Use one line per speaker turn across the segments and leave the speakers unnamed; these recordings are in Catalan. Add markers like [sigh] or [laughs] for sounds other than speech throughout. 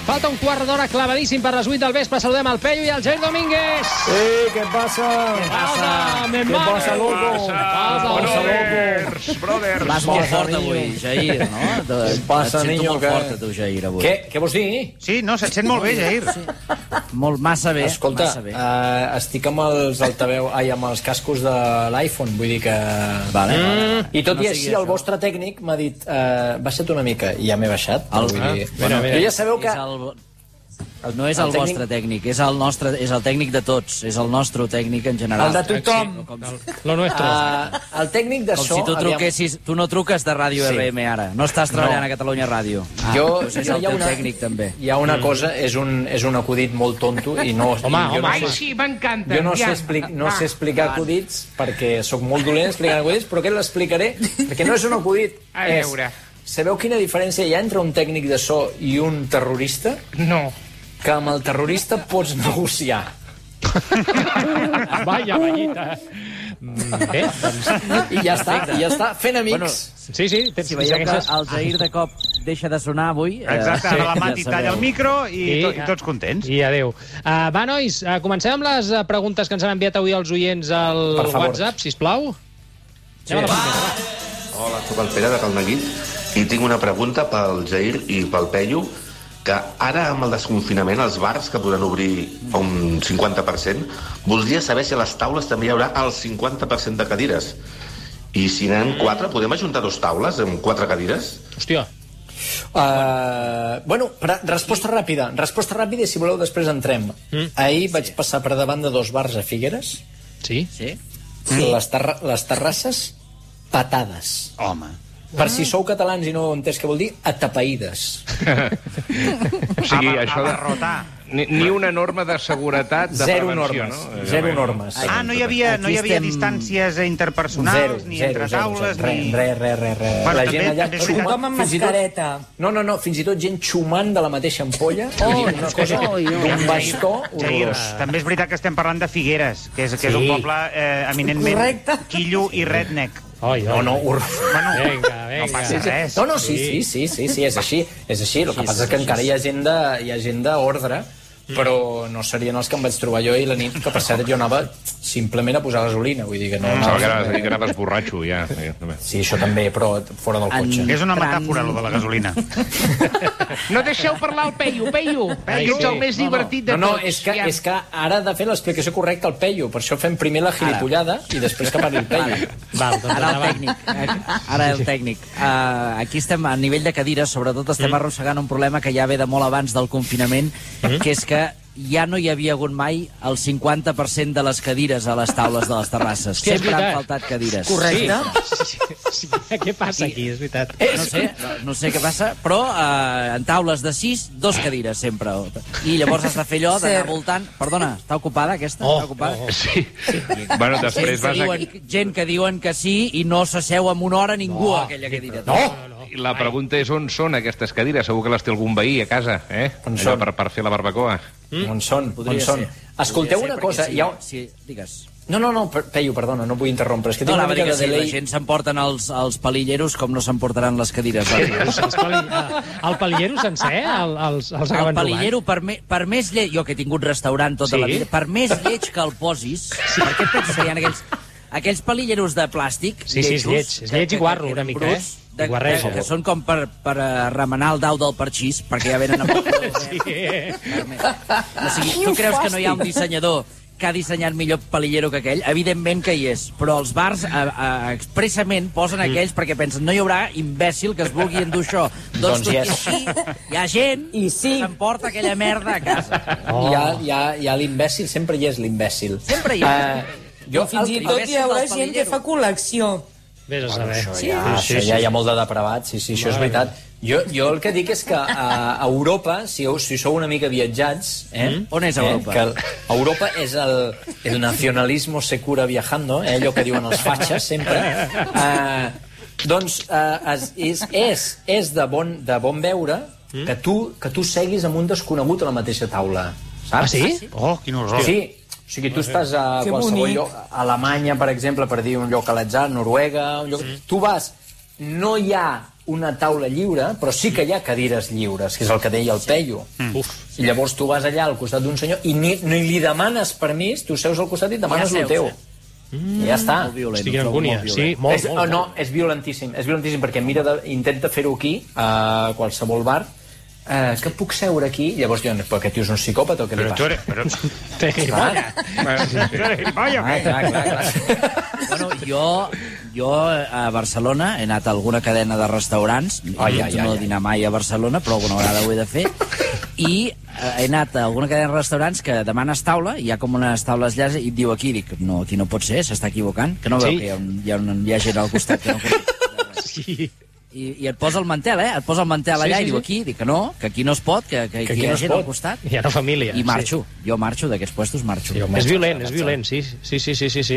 Falta un quart d'hora clavadíssim per les 8 del vespre. Saludem el Peyu i el Jair Domínguez.
Eh, ¿qué pasa?
Ah, Passa, mi
¿Qué
mare.
pasa, loco?
Passa,
Brothers, brothers.
Vas molt
Passa,
fort
niño.
avui, Jair, no?
Què
Et,
passa,
et sento
niño,
molt
que-
fort, a tu, Jair, avui.
Què, què vols dir?
Sí, no, se't sent molt bé, Jair.
Molt massa bé,
Escolta,
massa bé.
uh, estic amb els altaveu, ai, amb els cascos de l'iPhone, vull dir que... Mm,
Vale, vale.
I tot
No
i
sigui
així,
això.
el vostre tècnic m'ha dit uh, baixa't una mica, i ja m'he baixat.
El-
vull
Ah,
dir...
mira, mira.
Jo ja sabeu que...
És el... No és el,
El tècnic-
vostre tècnic, és el nostre, és el tècnic de tots, és el nostre tècnic en general.
El de tothom.
Sí, com,
Lo nuestro.
Uh, el tècnic
com
d'això...
si
aviam,
tu truquessis... Tu no truques de Ràdio
Sí.
sí. RM ara, no estàs
No.
treballant no. a Catalunya Ràdio. Ah,
Jo,
doncs és
jo
el
hi ha
teu
una-
tècnic, també.
Hi ha una cosa, és un, és un acudit molt tonto i
[laughs]
no...
Home,
i jo
home,
no
home.
sé,
Sí, m'encanta.
Jo no sé,
ja.
explic, no
Va.
sé explicar acudits perquè sóc molt dolent explicant acudits, però aquest l'explicaré perquè no és un acudit.
A
és-
veure.
sabeu quina diferència hi ha entre un tècnic de so i un terrorista?
No.
Que amb el terrorista pots negociar.
[laughs] Vaya ballita. Mm, Bé, doncs...
I ja està, i ja està fent amics. Bueno,
Sí, sí, tens
Si veieu que el Jair de cop deixa de sonar avui... eh,
Exacte, ara la Mati
[laughs] ja
talla el
sabeu.
micro i, to, i tots contents.
I adeu. Uh, va, nois, uh, comencem amb les eh, preguntes que ens han enviat avui els oients al
Per favor.
WhatsApp, sisplau. Sí. Anem a la primera.
Hola, sóc el Pere de Calneguit i tinc una pregunta pel Jair i pel Peyu que ara amb el desconfinament els bars que podran obrir a un 50% voldria saber si a les taules també hi haurà el 50% de cadires i si n'hi ha quatre, podem ajuntar dos taules amb quatre cadires?
Hòstia,
uh, bueno pre- resposta ràpida. Resposta ràpida i si voleu després entrem.
Mm.
Ahir vaig passar per davant de dos bars a Figueres.
sí?
Sí?
Les, terra les terrasses patades.
Home.
Per si sou catalans i no heu entès què vol dir, atapeïdes.
O sigui,
Ama-
això de...
abarrotar.
Ni, ni una norma de seguretat, de
Zero
prevenció,
normes.
no?
Zero normes.
Ah, no hi havia, no hi havia
Aquí estem-
distàncies interpersonals, ni entre taules,
zero,
ni...
Res, res, res, res.
Bueno, també- també és veritat.
xumant amb mascareta. No, no, no, fins i tot gent xumant de la mateixa ampolla. Oh, una cosa, d'un bastó
Jair,
horrorós.
també és veritat que estem parlant de Figueres, que és, que és un poble eh, eminentment
Correcte.
quillo i redneck.
Oi, oi.
No, no, horrorós.
Bueno,
Vinga, vinga.
no passa res.
No, no, sí, sí, sí, sí, sí, és així, és així. El que passa és que encara hi ha gent de, hi ha gent d'ordre, però no serien els que em vaig trobar jo i la nit, que per cert jo anava simplement a posar gasolina, vull dir que no...
Pensava que anaves a dir que anaves borratxo, ja.
Sí, això també, però fora del cotxe.
És una metàfora, lo de la gasolina.
No deixeu parlar el Peyu, Peyu. Peyu ets
sí.
el més divertit de
No, no,
tots.
és que,
Ja.
és que ara ha de fer l'explicació correcta al Peyu, per això fem primer la gilipollada i després que parli el Peyu.
Val, doncs
Ara el
endavant.
tècnic. eh, Ara el tècnic. Uh, aquí estem a nivell de cadires, sobretot estem
Mm.
arrossegant un problema que ja ve de molt abans del confinament,
Mm-hmm.
que és que ja no hi havia hagut mai el 50% de les cadires a les taules de les terrasses.
Hòstia, és
Sempre han
veritat.
faltat cadires.
Sí, què passa aquí, és veritat.
No sé, no- no sé què passa, però eh, en taules de 6, dos cadires sempre. I llavors has de fer allò d'anar voltant... Perdona, està ocupada aquesta?
Oh,
està ocupada?
oh,
Sí. Bueno,
Gent
després
que,
vas a...
diuen, gent que diuen que sí i no s'asseu en una hora ningú a aquella cadira.
No, no.
I La pregunta és on són aquestes cadires. Segur que les té algun veí a casa, eh?
On
Allò
són?
per, per fer la barbacoa.
Mm? On són?
Podria
on són?
ser.
Escolteu
Podria
una
ser,
cosa,
perquè
hi ha...
Sí, sí, digues.
No, no, no, per- Peyu, perdona, no vull interrompre, és que
No,
tinc una
anava a dir
mica
que
de
si la
delay.
gent s'emporten els, els palilleros com no s'emportaran les cadires. Va.
Els pali- eh, El palillero sencer, el, els, els
El
acaben
palillero, per, me, per més lleig... Jo que he tingut restaurant tota
Sí?
la vida, per més lleig que el posis, sí. perquè et penses que hi ha aquells, aquells palilleros de plàstic...
Sí, sí, és
lletjos,
lleig, és lleig i
que- que-
guarro,
que-
una mica,
bruts,
eh?
De,
I guarreja.
que, que són com per, per eh, remenar el dau del parxís, perquè
[laughs]
ja venen amb el eh? color verd.
roben. Sí.
Ah,
O sigui, tu creus que no hi ha un dissenyador que ha dissenyat millor palillero que aquell? Evidentment que hi és, però els bars a, a, expressament posen
Mm.
aquells perquè pensen no hi haurà imbècil que es vulgui endur això.
Doncs
tot i
hi és.
així, hi ha gent
I sí.
que s'emporta aquella merda a casa.
Oh. Hi ha, hi ha, hi ha l'imbècil, sempre hi és l'imbècil.
Sempre hi és.
Uh, jo fins i tot...
hi haurà gent que fa cul.
Vés a saber.
Això ja, sí, Ah, això ja hi ha molt de depravat, sí, sí, això és veritat. Jo, jo el que dic és que a, a Europa, si, heu- si sou una mica viatjats... Eh,
Mm. On és Europa?
Eh, que el- Europa és el, el nacionalismo se cura viajando, eh, allò que diuen els fatxes sempre. Eh, doncs eh, es, és, és, és de, bon, de bon veure que tu, que tu seguis amb un desconegut a la mateixa taula. Saps?
Ah, sí?
Oh, quin horror.
Sí, o sigui, tu estàs a qualsevol lloc, a Alemanya, per exemple, per dir un lloc a l'atzar, Noruega, un lloc... Tu vas, no hi ha una taula lliure, però sí que hi ha cadires lliures, que és el que deia el Peyu. Mm. I llavors tu vas allà al costat d'un senyor i ni, ni li demanes permís, tu seus al costat i et demanes ja
Ja seus,
el teu.
eh?
Mm. I ja està.
Molt violent.
Estic
ho
en
trobo
angúnia.
molt violent.
Sí, molt,
és,
molt.
oh, no, és violentíssim, és violentíssim, perquè mira de, intenta fer-ho aquí, a qualsevol bar, eh, que puc seure aquí? Llavors diuen, però aquest tio és un psicòpata, o què li
Però tu
passa?
eres... Però...
Té,
Clar,
Tu eres gilipolles,
Ah, clar, clar, clar, clar.
[laughs] Bueno, jo, jo a Barcelona he anat a alguna cadena de restaurants, ai, ai, no ai, dinar mai a Barcelona, però alguna vegada ho he de fer, i eh, he anat a alguna cadena de restaurants que demanes taula, hi ha com unes taules llars, i et diu aquí, dic, no, aquí no pot ser, s'està equivocant, que no veu
Sí.
que hi ha, un, hi, ha un, hi ha gent al costat que no conec.
sí.
I, I et posa el mantel, eh? Et posa el mantel
Sí,
allà
sí,
i diu
sí.
aquí, dic que no, que aquí no es pot, que, que, que
aquí
hi ha
no es
gent
pot.
al costat.
Hi ha una família.
I marxo, jo marxo d'aquests puestos, marxo.
Sí. És violent, és violent, sí, sí, sí, sí, sí, sí.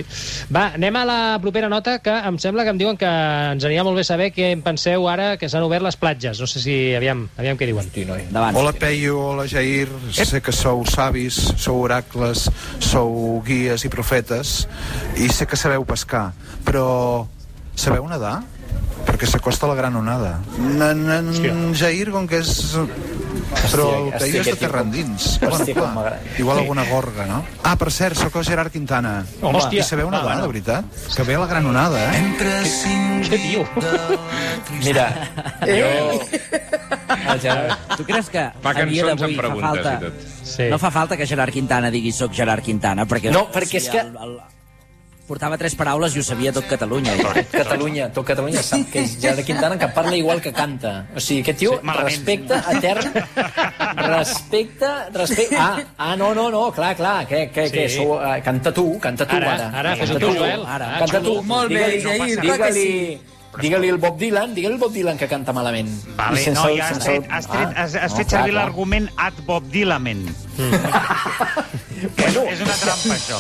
Va, anem a la propera nota, que em sembla que em diuen que ens anirà molt bé saber què en penseu ara que s'han obert les platges. No sé si, aviam, aviam què diuen.
Hosti, noi.
Endavant.
Hola Peyu, hola Jair, sé que sou savis, sou oracles, sou guies i profetes i sé que sabeu pescar, però sabeu nedar? Perquè s'acosta la gran onada. En, en Jair, com que és... Però el
hòstia,
Peyu és de
aquest
terra
tipus.
endins.
Hòstia,
Bueno,
com
clar,
m'agrada.
igual alguna gorga, no? Ah, per cert, sóc el Gerard Quintana.
Home.
I sabeu nedar, de veritat? Que ve la gran onada, eh?
Què diu?
[laughs] Mira, jo... El Gerard,
Tu creus que
Fa
a dia
cançons
d'avui
amb
fa
preguntes
falta...
i tot.
Sí.
No fa falta que Gerard Quintana digui soc Gerard Quintana, perquè...
No, perquè és que-
El, el... Portava tres paraules i ho sabia tot Catalunya. igual.
Catalunya, tot Catalunya sap que és Gerard Quintana que parla igual que canta. O sigui, aquest tio,
Sí,
sí,
malament.
respecte etern, respecte, respecte... Ah, ah, no, no, no, clar, clar, què, què,
Sí.
sí. què, sou, uh, canta tu, canta tu,
Ara,
ara.
ara, fes-ho
Canta
tu, Joel.
Ara,
Ah,
canta
xulo.
tu.
Molt bé,
Digue-li-
Jair, clar que
Digue-li, digue-li el Bob Dylan, digue-li el Bob Dylan que canta malament.
Vale,
I sense-
no, ja has
sense-
tret, has, tret, has, has
Ah.
fet servir
clar, Mm. clar.
l'argument ad Bob Dylan. [laughs]
Bueno,
És una trampa, això.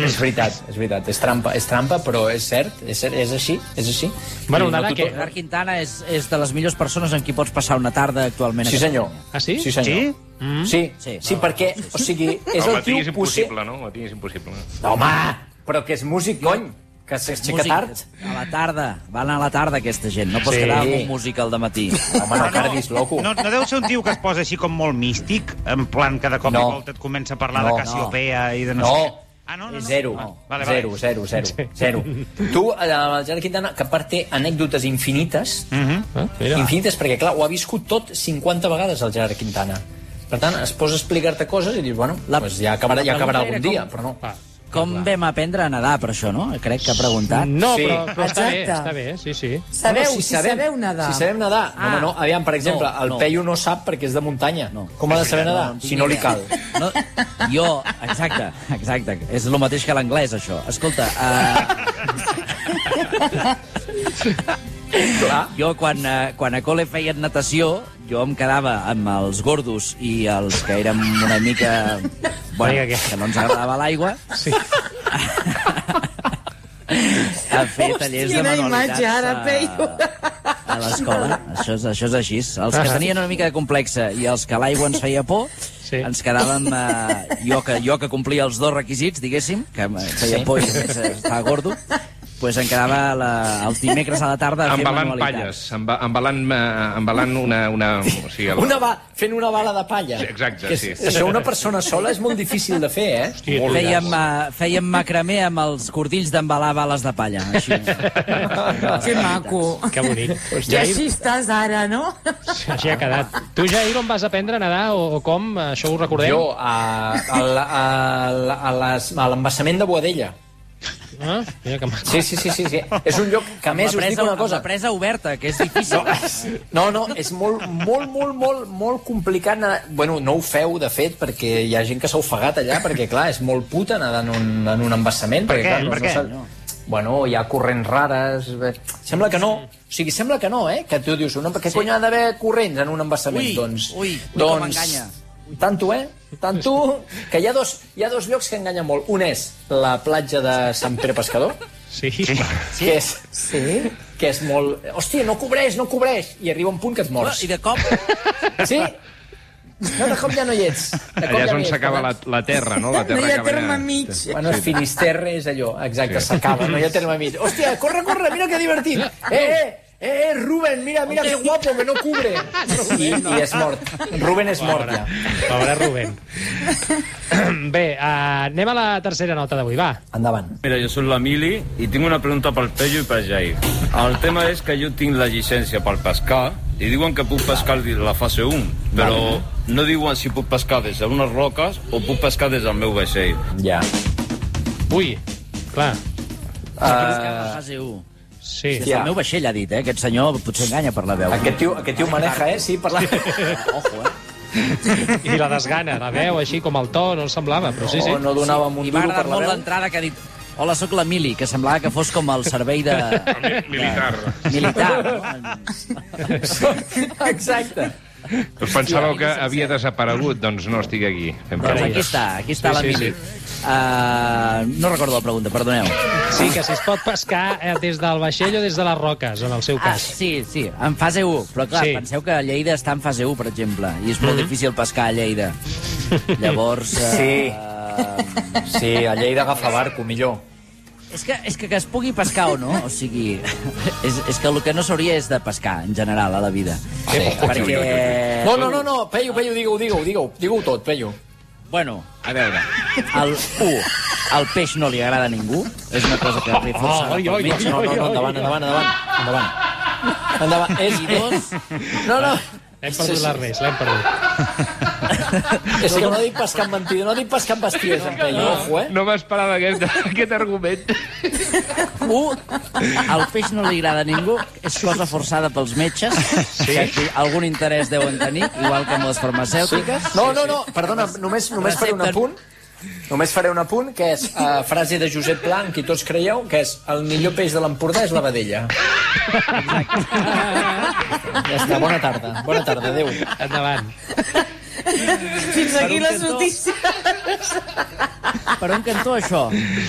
és veritat, és veritat, és trampa, és trampa, però és cert, és, cert, és així, és així.
Bueno,
I
Nadal,
tothom-
què?
Gerard Quintana és, és de les millors persones amb qui pots passar una tarda actualment. a
Sí, senyor.
Ah, sí?
Sí, senyor.
Sí?
Mm. Sí,
Sí,
sí, sí
va,
perquè, o sigui, és
el
el
matí és
tio
impossible,
possible.
no? El matí és impossible. No?
Home, però que és músic, cony, que s'aixeca
Músic-
tard.
A la tarda. Van a la tarda, aquesta gent. No pots
Sí.
quedar amb un músic al matí.
Home, no cardis, loco.
No, no deu ser un tio que es posa així com molt místic, en plan cada cop no.
No.
i volta et comença a parlar
No.
de Cassiopea i de no,
No.
sé què. Ah, no, no, no.
Zero,
Ah,
vale, vale. zero, zero, zero, zero. Tu, eh, amb el Gerard Quintana, que a part té anècdotes infinites,
Mm -hmm.
Ah, mira.
infinites, perquè, clar, ho ha viscut tot 50 vegades, el Gerard Quintana. Per tant, es posa a explicar-te coses i dius, bueno, la,
La-
pues ja acabarà, ja
la pregunta
acabarà
era
algun dia,
com-
però no.
Va.
Com vam aprendre a nedar, per això, no? Crec que ha preguntat.
No,
Sí.
però, però està bé,
Exacte.
està bé, sí, sí.
Sabeu,
No, no,
si, sabeu nedar.
Si sabem nedar. Ah. No, home, no, aviam, per exemple,
No,
no, el
no.
no. Peyu no sap perquè és de muntanya.
No.
No. Com ha de saber nedar?
en tinc
si no li
idea. [laughs]
cal.
No, jo, exacte, exacte. És el mateix que l'anglès, això. Escolta, uh,
Clar.
jo quan, uh, quan a col·le feien natació, jo em quedava amb els gordos i els que érem una mica... Bueno,
Vinga, què?
que no ens agradava l'aigua. Sí. a fer
Hòstia,
tallers de
quina
manualitats eh,
imatge ara,
a-
Peyu.
a l'escola. Això, és, això és així. Els que tenien una mica de complexa i els que l'aigua ens feia por, sí.
Sí.
ens quedàvem... Eh, jo, que, jo que complia els dos requisits, diguéssim, que em feia
Sí.
por i a més eh, estava gordo, pues em quedava la, els dimecres a la tarda a fer
Embalant
manualitats.
palles, emba, embalant, eh, embalant una... una o sigui, el-
Una va, fent una bala de palla.
Sí, exacte,
que és,
sí.
Això una persona sola és molt difícil de fer, eh?
Sí,
Molt
Fèiem, eh, fèiem macramé amb els cordills d'embalar bales de palla.
[laughs]
Així.
Que maco.
Que bonic.
I
Jair,
així estàs ara, no?
així ha quedat. Tu, Jair, on vas aprendre a nedar o, o com? Això ho recordem?
Jo, a, a, la- a, la- a, les- a l'embassament de Boadella.
Ah, mira que maco.
Sí, sí, sí, sí, sí. És un lloc que, a més, us dic una cosa...
Amb la presa oberta, que és difícil.
No, no, no, és molt, molt, molt, molt, molt complicat nedar. Bueno, no ho feu, de fet, perquè hi ha gent que s'ha ofegat allà, perquè, clar, és molt puta nedar en un, en un embassament. Per
què?
Clar,
Per què?
saps- Bueno, hi ha corrents rares... bé. Sembla que no. O sigui, sembla que no, eh? Que tu dius, no, per què sí. cony ha d'haver corrents en un embassament?
Ui,
doncs,
ui, ui, com
doncs,
enganya.
Tanto, eh? Tanto, que hi ha, dos, hi ha dos llocs que enganyen molt. Un és la platja de Sant Pere Pescador,
Sí.
sí? que és... Sí? Que és molt... Hòstia, no cobreix, no cobreix! I arriba un punt que et mors.
I de cop
Sí? No, de cop ja no hi ets. De cop
Allà és
no
on
hi ets,
s'acaba la,
però-
la terra, no? La terra
No hi ha
que ve de-
terme mig.
Bueno, sí. Finisterre és allò, exacte, s'acaba, no hi ha terme mig. Hòstia, corre, corre, mira que divertit. Eh, eh,
Eh, eh, Rubén, mira, mira qué guapo, que no cubre.
[laughs]
I, i és mort. Ruben és mort, ja.
Pobre Rubén. Bé, uh, anem a la tercera nota d'avui, va.
Endavant.
Mira, jo soc la Mili i tinc una pregunta pel Pello i per Jair. El tema és que jo tinc la llicència per pescar i diuen que puc pescar de la fase 1, però no diuen si puc pescar des d'unes roques o puc pescar des del meu vaixell.
Ja.
Ui, clar,
Ah.
Uh... Fase 1.
sí.
Des
sí.
del
Ja.
meu vaixell ha dit, eh? Aquest senyor potser enganya per la veu.
Aquest tio, aquest tio maneja, eh? Sí, per la... Ojo, eh?
I la desgana, la veu, així com el to, no el semblava, però sí, sí.
O Oh, no donàvem un
I m'ha
duro per
agradat
la
molt
veu.
l'entrada que ha dit Hola, sóc la Mili, que semblava que fos com el servei de...
Militar.
militar. No?
[laughs] Exacte.
Us pensàveu que havia desaparegut, doncs no estic aquí. Fem
Doncs
preguntes.
aquí està, aquí
Sí,
està la
sí,
Mili. Uh, no recordo la pregunta, perdoneu.
Sí, que si es pot pescar eh, des del vaixell o des de les roques, en el seu
Ah,
cas.
sí, sí, en fase 1. Però clar,
Sí.
sí. penseu que Lleida està en fase 1, per exemple, i és molt mm -hmm. difícil pescar a Lleida. Llavors... eh,
Sí.
Uh,
Sí, a Lleida agafa barco, millor.
és, que, és que que es pugui pescar o no, o sigui... [laughs] És, és que el que no s'hauria és de pescar, en general, a la vida. Sí, perquè...
No, no, no, no, Peyu, Peyu, digue-ho, digue-ho, digue-ho, digue-ho tot, Peyu.
Bueno,
A veure,
el 1, el peix no li agrada a ningú. És una cosa que li força...
Oh,
Ai, ai, ai,
No, no, no, endavant, endavant, endavant, endavant. Endavant, és [laughs] dos. No, no,
Hem perdut la res, l'hem perdut.
és que no dic pas cap mentida, no dic pas cap bestides, en Peyu, ojo, eh?
no m'esperava aquest, aquest argument.
U, el peix no li agrada a ningú, és cosa forçada pels metges, sí? que aquí algun interès deuen tenir, igual que amb les farmacèutiques.
No, no, no, perdona, només, només faré un
Recepten.
apunt. Només faré un apunt, que és uh, frase de Josep Blanc, que tots creieu, que és el millor peix de l'Empordà és la vedella. Exacte. Ja està, bona tarda. Bona tarda, adéu.
Endavant.
Fins aquí les
cantó.
notícies.
Per un cantó, això.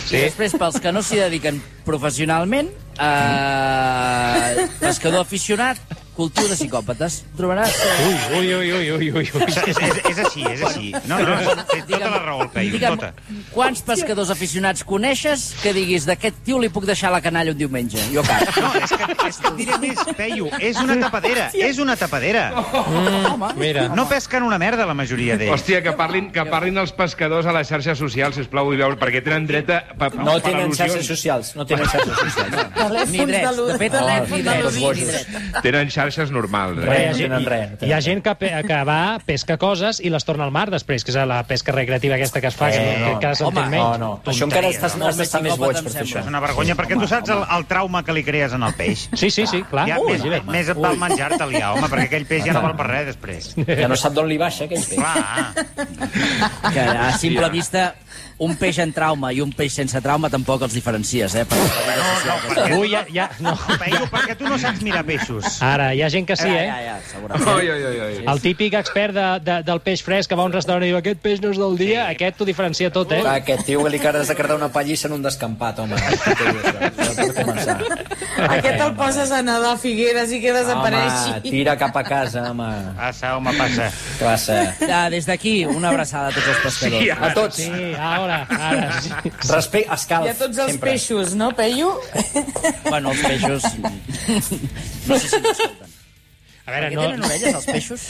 Sí. Després, pels que no s'hi dediquen professionalment, eh, pescador aficionat, cultiu de psicòpates. Trobaràs...
Ui, ui, ui, ui, ui, ui.
És,
ui.
és, és així, és així. No, no, té tota la raó el Peyu,
digue'm,
tota.
quants pescadors aficionats coneixes que diguis d'aquest tio li puc deixar la canalla un diumenge? Jo cap.
[laughs]
No, és que, és que et diré més, Peyu, és una tapadera, és una tapadera.
Mira,
No pesquen una merda, la majoria d'ells.
Hòstia, que parlin, que parlin els pescadors a les xarxes socials, sisplau, i veure, perquè tenen dret a... Pa,
No tenen xarxes socials, no tenen xarxes socials.
Ni drets.
l'U-
De fet,
telèfon
ni
de
drets,
l'U-
ni drets.
Tenen xarxes normals.
Bé,
Eh?
hi ha,
tenen res,
gent,
no tenen
hi ha
res.
gent que, pe que va, pesca coses i les torna al mar després, que és la pesca recreativa aquesta que es fa, que,
Eh,
no,
no.
que cada s'entén
Home,
No,
menys.
no, això encara estàs,
no?
has d'estar més boig per fer això.
És una vergonya, perquè tu saps el, el trauma que li crees en el peix.
Sí, sí, sí, clar.
Ja, més,
imagina't.
més et val menjar-te-li, ja, home, perquè aquell peix ja no val per res després.
Ja no sap d'on li baixa, [laughs] aquell peix.
Clar,
que a simple vista un peix en trauma i un peix sense trauma tampoc els diferencies, eh? Per...
Ui, ja, ja, no.
Peyu, perquè tu no saps mirar peixos.
Ara, hi ha gent que sí, eh?
Ja, ja, segurament.
Oi, oi, oi, oi.
El típic expert de, de, del peix fresc que va a un restaurant i diu aquest peix no és del dia, aquest t'ho diferencia tot, eh?
Clar, aquest tio que li cara de cardar una pallissa en un descampat, home. Això per començar.
Aquest el poses a nedar a Figueres i que desapareixi.
Home, tira cap a casa, home.
Passa, home, Ah, passa.
Classe.
Ja, des d'aquí, una abraçada a tots els pescadors. Sí,
A tots.
Sí, ara, ara, sí.
Respecte, escalf.
Hi ha tots els
sempre.
peixos, no, Peyu?
Bueno, els peixos... No sé si m'escolten.
A veure,
Perquè
no...
tenen orelles, els peixos?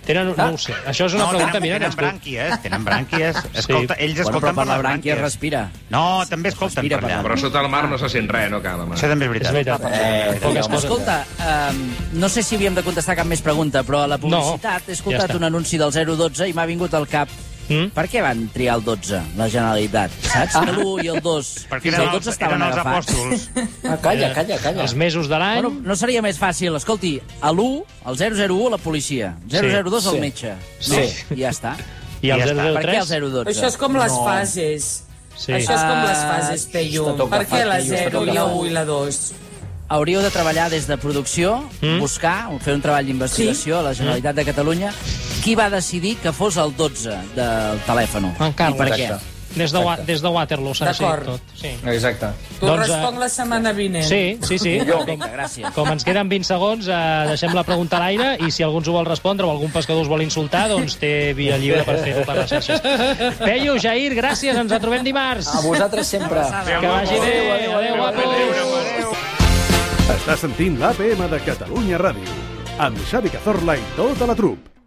Tenen, no ho sé. Això és una
no,
pregunta,
tenen,
mira, que
tenen
ens ve.
brànquies, tenen brànquies. Escolta, ells
Bueno, però
escolten
per la
les
brànquia es
brànquies.
respira.
No, també escolten
Respira
per
per la
allà.
Però sota el mar no se sent res, no cal, home.
Això també és
És veritat.
veritat.
Eh,
Poques
home,
coses.
Escolta, um, no sé si havíem de contestar cap més pregunta, però a la
No,
publicitat he
ja
escoltat
està.
un anunci del 012 i m'ha vingut al cap
Mm?
per què van triar el 12, la Generalitat? Saps que l'1 i el 2...
[laughs] Perquè
fins
eren
al 12
els,
estaven
eren els
agafats.
apòstols.
Ah, calla, calla, calla.
Eh, Els mesos de l'any...
Bueno, no seria més fàcil, escolti, a l'1, el 001, la policia, 002,
Sí.
el metge.
Sí.
No? I ja està.
I el
ja està.
Per què el
003?
012?
Això és com les fases.
Sí.
Això és com les
Ah,
fases, Peyu.
està tot
Per què
agafat,
la
Peyu, està
0
tot
i la
agafat.
1 i la 2?
Hauríeu de treballar des de producció, mm? buscar, fer un treball d'investigació a la Generalitat de Catalunya. Qui va decidir que fos el 12 del telèfon?
En Carles.
I per què?
Exacte.
Des de, Wa- des de Waterloo, s'ha
D'acord.
tot. Sí.
Exacte.
Tu
Doncs,
doncs,
eh,
responc la setmana vinent.
Sí, sí, sí. Com,
Vinga, gràcies.
com ens queden 20 segons, eh, deixem la pregunta a l'aire i si algú ens ho vol respondre o algun pescador us vol insultar, doncs té via lliure per fer-ho per les xarxes. Peyu, Jair, gràcies, ens trobem dimarts.
A vosaltres sempre.
Que vagi bé. Adéu, guapos.
Adéu,
Estàs sentint l'APM de Catalunya Ràdio, amb Xavi Cazorla i tota la trup.